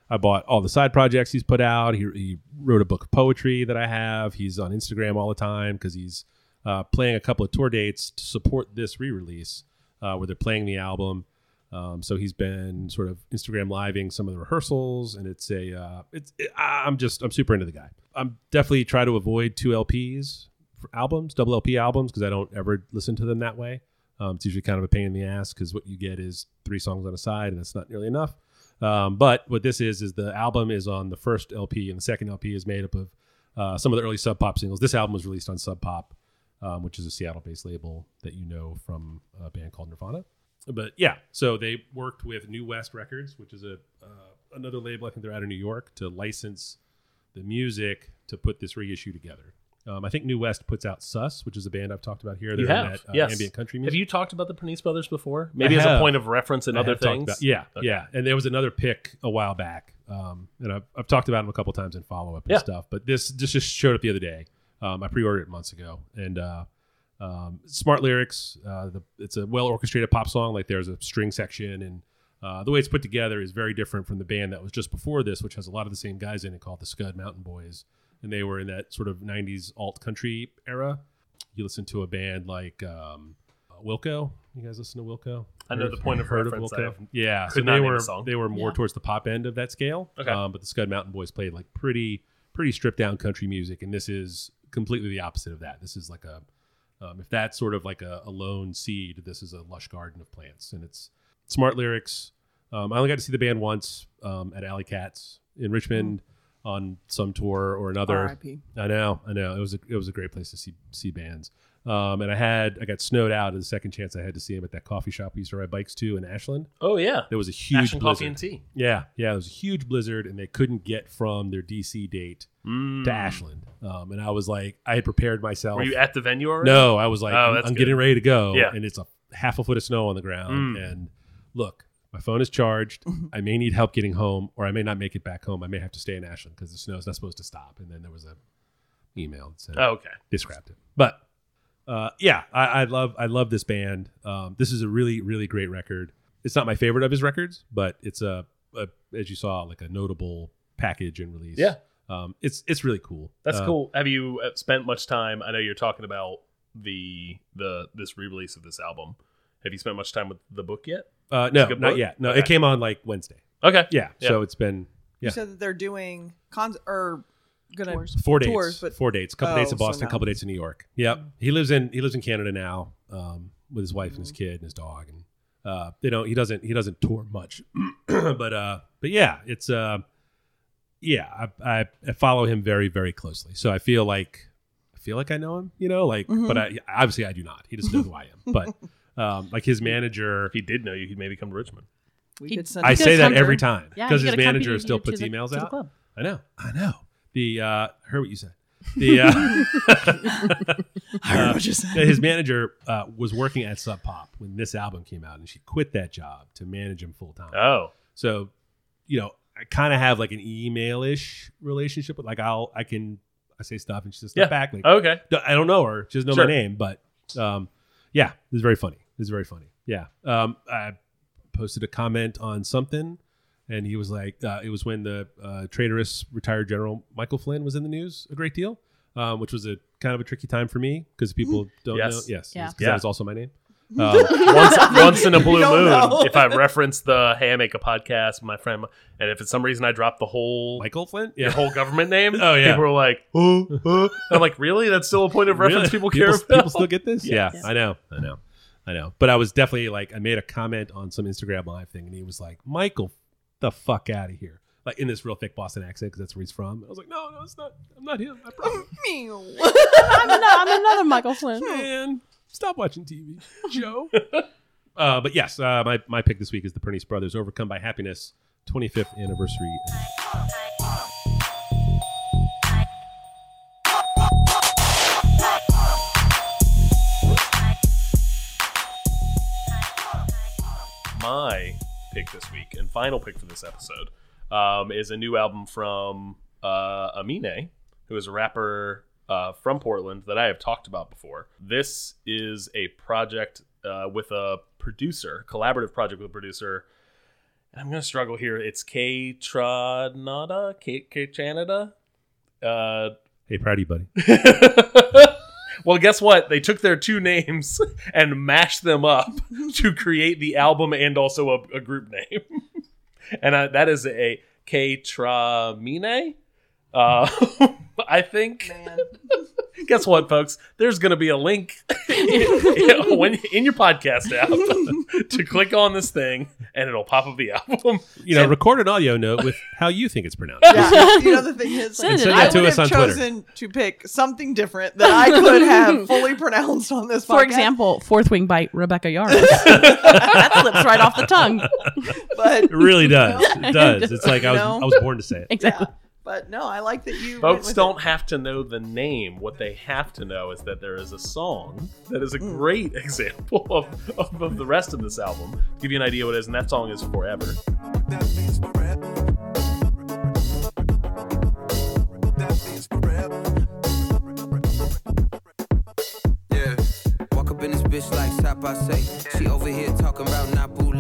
I bought all the side projects he's put out. He, he wrote a book of poetry that I have. He's on Instagram all the time because he's uh, playing a couple of tour dates to support this re-release uh, where they're playing the album. Um, so he's been sort of Instagram living some of the rehearsals, and it's a uh, it's it, I- I'm just I'm super into the guy. I'm definitely try to avoid two LPs for albums, double LP albums, because I don't ever listen to them that way. Um, it's usually kind of a pain in the ass because what you get is three songs on a side, and that's not nearly enough. Um, but what this is is the album is on the first LP, and the second LP is made up of uh, some of the early Sub Pop singles. This album was released on Sub Pop, um, which is a Seattle-based label that you know from a band called Nirvana. But yeah, so they worked with New West Records, which is a uh, another label. I think they're out of New York to license the music to put this reissue together. Um, I think New West puts out Sus, which is a band I've talked about here. You They're in have, that, uh, yes. ambient country music. Have you talked about the Pernice Brothers before? Maybe as a have. point of reference in I other have talked things. about- yeah, yeah. And there was another pick a while back, um, and I've, I've talked about him a couple times in follow up and Yeah. stuff. But this this just showed up the other day. Um, I pre ordered it months ago, and uh, um, smart lyrics. Uh, the, it's a well orchestrated pop song. Like there's a string section, and uh, the way it's put together is very different from the band that was just before this, which has a lot of the same guys in it called the Scud Mountain Boys, and they were in that sort of '90s alt country era. You listen to a band like. Um, Wilco, you guys listen to Wilco? I know the point of Heard reference, I have- yeah, could so not they name a were song. they were more Yeah. towards the pop end of that scale. Okay. Um, but the Scud Mountain Boys played like pretty pretty stripped down country music, and this is completely the opposite of that. This is like a um, if that's sort of like a, a lone seed, this is a lush garden of plants, and it's smart lyrics. Um, I only got to see the band once um, at Alley Cats in Richmond on some tour or another. R.I.P. I know, I know. It was a, it was a great place to see see bands. Um, and I had I got snowed out at the second chance I had to see him at that coffee shop we used to ride bikes to in Ashland. Oh yeah. There was a huge Action blizzard. coffee and tea. Yeah, yeah, it was a huge blizzard, and they couldn't get from their DC date to Ashland. Um, and I was like, I had prepared myself. Mm. Were you at the venue already? Oh. no, I was like, Oh, I'm- I'm, that's good. getting ready to go, Yeah. Mm. and it's a half a foot of snow on the ground. And look, my phone is charged. I may need help getting home, or I may not make it back home. I may have to stay in Ashland because the snow's not supposed to stop. And then there was a email that said, Oh, okay. they scrapped it. But uh, yeah, I, I love I love this band. Um, this is a really really great record. It's not my favorite of his records, but it's a, a as you saw like a notable package and release. Yeah. um, it's it's really cool. That's Uh, cool. Have you uh, spent much time? I know you're talking about the the this re-release of this album. Have you spent much time with the book yet? Uh, no, It's a good not book? yet. No, it Okay. came on like Wednesday. Okay. Yeah, Yeah. so it's been You yeah said that they're doing cons or gonna four dates, tours, but four dates, couple Oh, dates in so Boston, no. couple dates in New York. Yep, Mm. he lives in he lives in Canada now um, with his wife and Mm. his kid and his dog, and uh, they don't he doesn't he doesn't tour much, but uh, but yeah, it's uh, yeah, I, I I follow him very very closely, so I feel like I feel like I know him, you know, like Mhm. but Mm-hmm. I obviously I do not. He doesn't know who I am, but um, like his manager. If he did know you, he'd maybe come to Richmond. we He- could send. I He say goes that hunter. every time Yeah, because you his gotta come manager here still to puts the- emails to the out. club. I know. I know. The uh I heard what you said. The uh, I heard what you said. his manager uh, was working at Sub Pop when this album came out, and she quit that job to manage him full time. Oh, So, you know, I kind of have like an email ish relationship with like I'll I can I say stuff and she says stuff Yeah. Oh, back. Like okay. d- I don't know her. She doesn't know Sure. my name, but um, yeah, this is very funny. This is very funny. Yeah. Um, I posted a comment on something, and he was like, uh, it was when the uh, traitorous retired general Michael Flynn was in the news a great deal, um, which was a kind of a tricky time for me because people don't Mm-hmm. Yes. know. Yes. Yeah. 'cause Yeah. That was also my name. Um, Once, once in a blue You don't moon, know. if I reference the Hey, I Make a Podcast, my friend, and if for some reason I drop the whole Michael Flynn? your whole government name, Oh, yeah. people were like, "Huh? Huh?" I'm like, really? That's still a point of reference Really? people care people, about? people still get this? Yes. Yeah, I know. I know. I know. But I was definitely like, I made a comment on some Instagram live thing, and he was like, Michael, the fuck out of here. Like in this real thick Boston accent, because that's where he's from. I was like, no, no, it's not. I'm not him. I promise. Meow. I'm, ano- I'm another Michael Flynn. Man, stop watching TV, Joe. uh, but yes, uh, my, my pick this week is the Pernice Brothers, Overcome by Happiness, 25th anniversary. my pick this week and final pick for this episode um, is a new album from uh, Amine, who is a rapper uh, from Portland that I have talked about before. This is a project uh, with a producer, collaborative project with a producer. And I'm going to struggle here. It's K Tranada, K K Chanada. Uh, Hey, proud of you, buddy. well, guess what? They took their two names and mashed them up to create the album and also a, a group name. and uh, that is a K Tramine. Uh, I think. Guess what, folks? There's going to be a link when in your podcast app to click on this thing, and it'll pop up the album. You know, record an audio note with how you think it's pronounced. Yeah, you know the thing is, like, Send it I out. would to us have on Twitter. chosen to pick something different that I could have fully pronounced on this. For podcast, example, Fourth Wing by Rebecca Yarros. that slips right off the tongue. but It really does. It does. It's like I was, No. I was born to say it. Exactly. but no, I like that you went Folks with don't it. have to know the name. What they have to know is that there is a song that is a Hmm. great example of, of, of the rest of this album. To give you an idea what it is, and that song is Forever. Yeah. Walk up in this bitch like Sap I say. She over here talking about Nabule.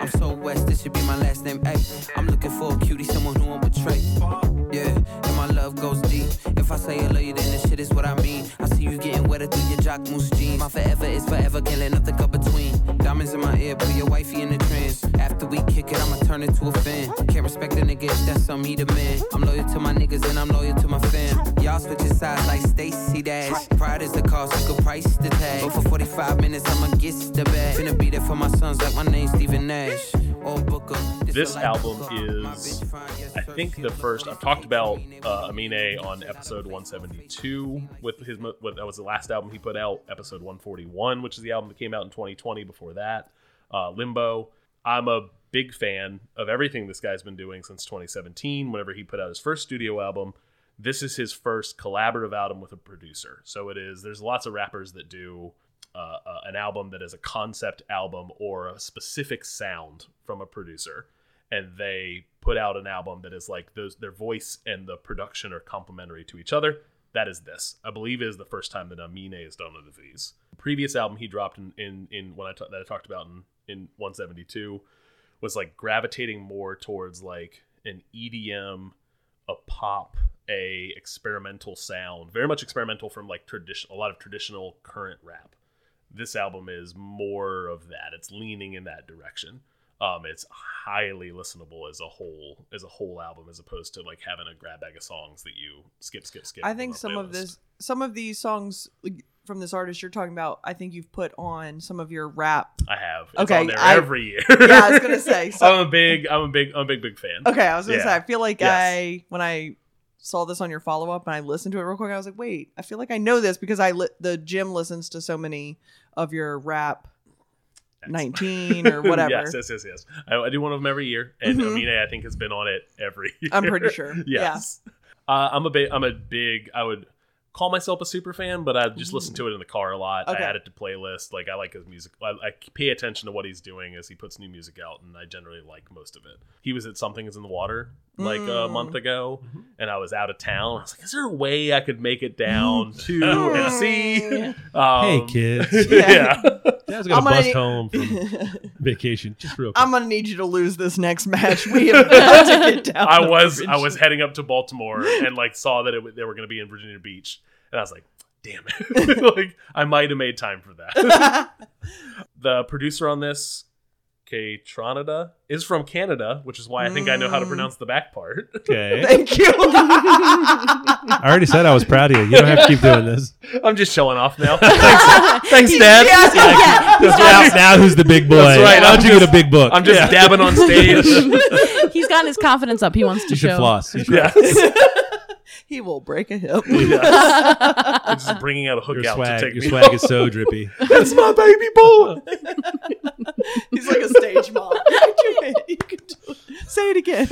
I'm so west, this should be my last name. Ay, I'm looking for a cutie, someone who won't betray. Yeah, and my love goes deep. If I say I love you, then this shit is what I mean. I see you getting wetter through your jock moose jeans. My forever is forever, can't let nothing come between. Diamonds in my ear, put your wifey in the trance. After we kick it, I'ma turn it to a fan. Can't respect a nigga if that's on me, the man. I'm loyal to my niggas and I'm loyal to my fam. Y'all switching sides like Stacy Dash. Pride is the cost, you could price the tag. But for 45 minutes, I'ma get the bag. Finna be there for my sons like my name's Steven Nash. Or Booker. This a life album book. My is, bitch fine, yes, I sir. think She the look first good. I've talked about uh, Amine on episode 172 with his mo- what that was the last album he put out. Episode 141, which is the album that came out in 2020. Before that, uh, Limbo. I'm a big fan of everything this guy's been doing since 2017. Whenever he put out his first studio album, this is his first collaborative album with a producer. So it is. There's lots of rappers that do uh, uh, an album that is a concept album or a specific sound from a producer, and they put out an album that is like those their voice and the production are complementary to each other. That is this. I believe it is the first time that Amine has done one of these. The previous album he dropped in in, in when I ta- that I talked about in in 172 was like gravitating more towards like an EDM, a pop, a experimental sound, very much experimental from like tradition, a lot of traditional current rap This album is more of that. It's leaning in that direction. Um, it's highly listenable as a whole as a whole album, as opposed to like having a grab bag of songs that you skip, skip, skip. I on think a some of playlist. this, some of these songs like, from this artist you're talking about, I think you've put on some of your rap. I have. It's Okay, on there I- every year. Yeah, I was gonna say. So, I'm a big, I'm a big, I'm a big, big fan. okay, I was gonna Yeah. say. I feel like Yes. I when I saw this on your follow up and I listened to it real quick, I was like, wait, I feel like I know this because I li- the Jim listens to so many of your rap. 19 or whatever. yes, yes, yes, yes. I, I do one of them every year, and Mhm. Amine, I think, has been on it every. Year. I'm pretty sure. yes, uh, I'm a big, I'm a big. I would call myself a super fan, but I just listen to it in the car a lot. Mm. Okay. I add it to playlist. Like I like his music. I, I pay attention to what he's doing as he puts new music out, and I generally like most of it. He was at something is in the water like a Mm. month ago, and I was out of town. I was like, is there a way I could make it down to and see? Yeah. hey Um, kids, Yeah. Dad's I'm gonna gonna bust need- home from vacation. Just real quick. I'm gonna need you to lose this next match. We have got to get down. I to was I Virginia. was heading up to Baltimore and like saw that it, w- they were going to be in Virginia Beach, and I was like, "Damn it!" like I might have made time for that. the producer on this, K Tronada, is from Canada, which is why I think I know how to Mm. pronounce the back part. okay. Thank you. I already said I was proud of you. You don't have to keep doing this. I'm just showing off now. thanks, thanks, Dad. Yes, yes. now, now who's the big boy? That's right, Now I'm that you get a big book. I'm just Yeah. dabbing on stage. He's gotten his confidence up. He wants to You should show. floss. You should yes. He will break a hip. I'm just bringing out a hook Your out swag, to take your me. swag is so drippy. That's my baby boy. He's like a stage mom. you can do it. Say it again.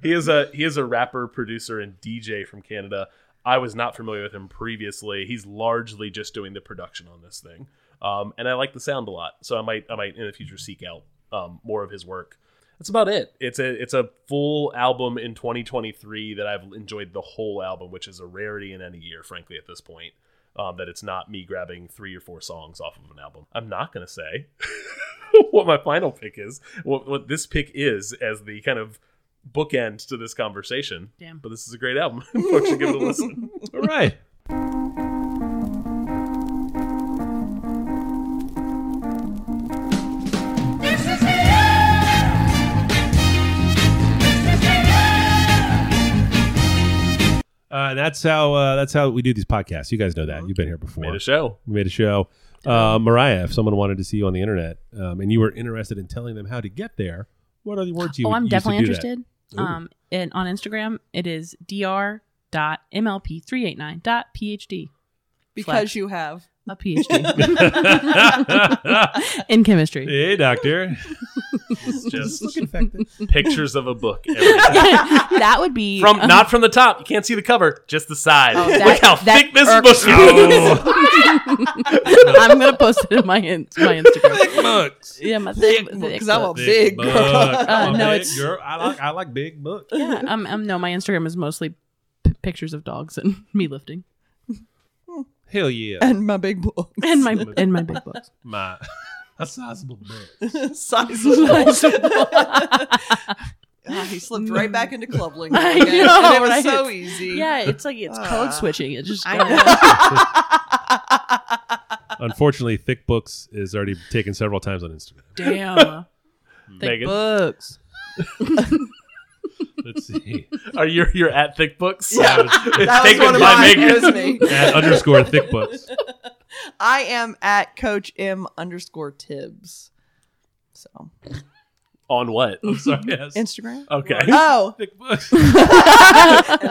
He is a he is a rapper, producer, and DJ from Canada. I was not familiar with him previously. He's largely just doing the production on this thing, um, and I like the sound a lot. So I might I might in the future seek out um, more of his work. That's about it. It's a it's a full album in 2023 that I've enjoyed the whole album, which is a rarity in any year, frankly, at this point. Um, that it's not me grabbing three or four songs off of an album. I'm not gonna say what my final pick is, what, what this pick is as the kind of bookend to this conversation. Damn. But this is a great album. Folks should give it a listen. All right. Uh, and that's how uh, that's how we do these podcasts. You guys know that. You've been here before. Made a show. We made a show. Uh, Mariah, if someone wanted to see you on the internet um, and you were interested in telling them how to get there, what are the words you? oh, would I'm use to definitely do that? interested. Ooh. Um, and on Instagram, it is dr.mlp389.phd. Because you have. A PhD in chemistry. Hey, doctor. It's just infected. pictures of a book. every- that would be From not from the top. You can't see the cover, just the side. Oh, Look that- how that thick this irks book is. I'm gonna post it in my in, my Instagram. Books. Yeah, my thick, thick Because I'm a book. big book. girl. I'm a no, Uh, big it's- girl. I like I like big books. yeah, um, um, no, my Instagram is mostly p- pictures of dogs and me lifting Hell yeah, And my big book. and my and my big books. my a sizable book. Size Ah, he slipped right back into club lingo. I again, know, and it was right? so easy. yeah, it's like it's Ah. code switching. It just I know. Unfortunately, thick books is already taken several times on Instagram. damn thick Megan, books. Let's see. are you you're at thick books? Yeah, it's that was one taken of by mine. It Megan. was me. At underscore thick books. I am at Coach M underscore Tibbs. So On what? I'm sorry. Yes. Instagram. Okay. Oh, thick books. and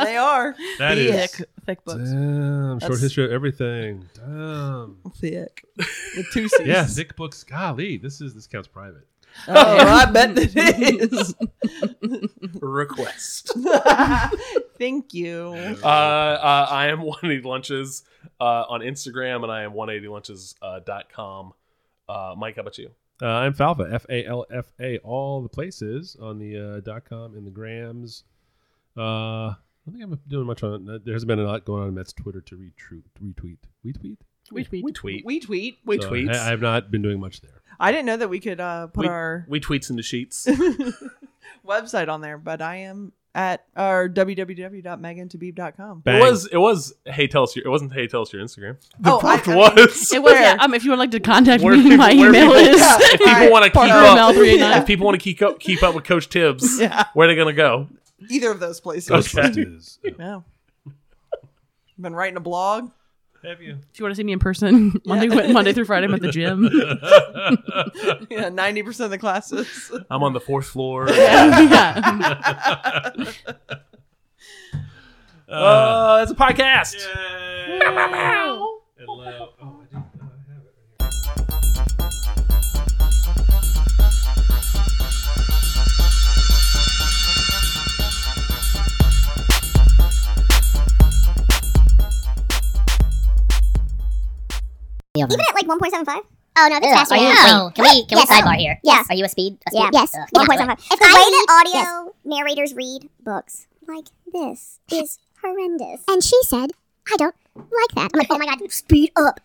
they are That is. Thick, thick books. Damn, short That's- history of everything. Damn. thick. The two C's. Yeah, thick books. Golly, this is this counts private. Oh, I bet that it is. Request. Thank you. Uh, uh, I am 180 Lunches uh, on Instagram, and I am 180lunches.com. Uh, Mike, how about you? Uh, I'm Falfa, F A L F A, all the places on the uh, dot com and the grams. Uh, I don't think I'm doing much on. uh, There hasn't been a lot going on in Mets Twitter to retweet, retweet, we tweet. We tweet. We tweet. We tweet. We So tweets. I, I have not been doing much there. I didn't know that we could uh, put We- our we tweets in the sheets. website on there, but I am at our www.megantabib.com. Bang. It was. It was. Hey, tell us your. It wasn't. Hey, tell us your Instagram. The Oh, I- prompt I mean, was. It was. Where? Yeah, um, if you would like to contact Where me, people- my where email people- is. Yeah. if people Alright, want to keep Parker up, ML389. if people want to keep up, keep up with Coach Tibbs, Yeah. where are they gonna go? Either of those places. Ghostbusters. No. Been writing a blog. Have you? If you want to see me in person, Monday, Monday through Friday, I'm at the gym. Yeah, ninety percent of the classes. I'm on the fourth floor. yeah. Uh, it's a podcast. Oh, uh, Even at like 1.75? Oh, no, that's faster. Are you, wait, can we, can Yes. we sidebar here? Yes. Are you a speed? A speed? Yeah. Yes. Ugh, One yeah. point seven five. If the way that audio narrators read books like this is horrendous. And she said, I don't like that. I'm like, oh my god, speed up.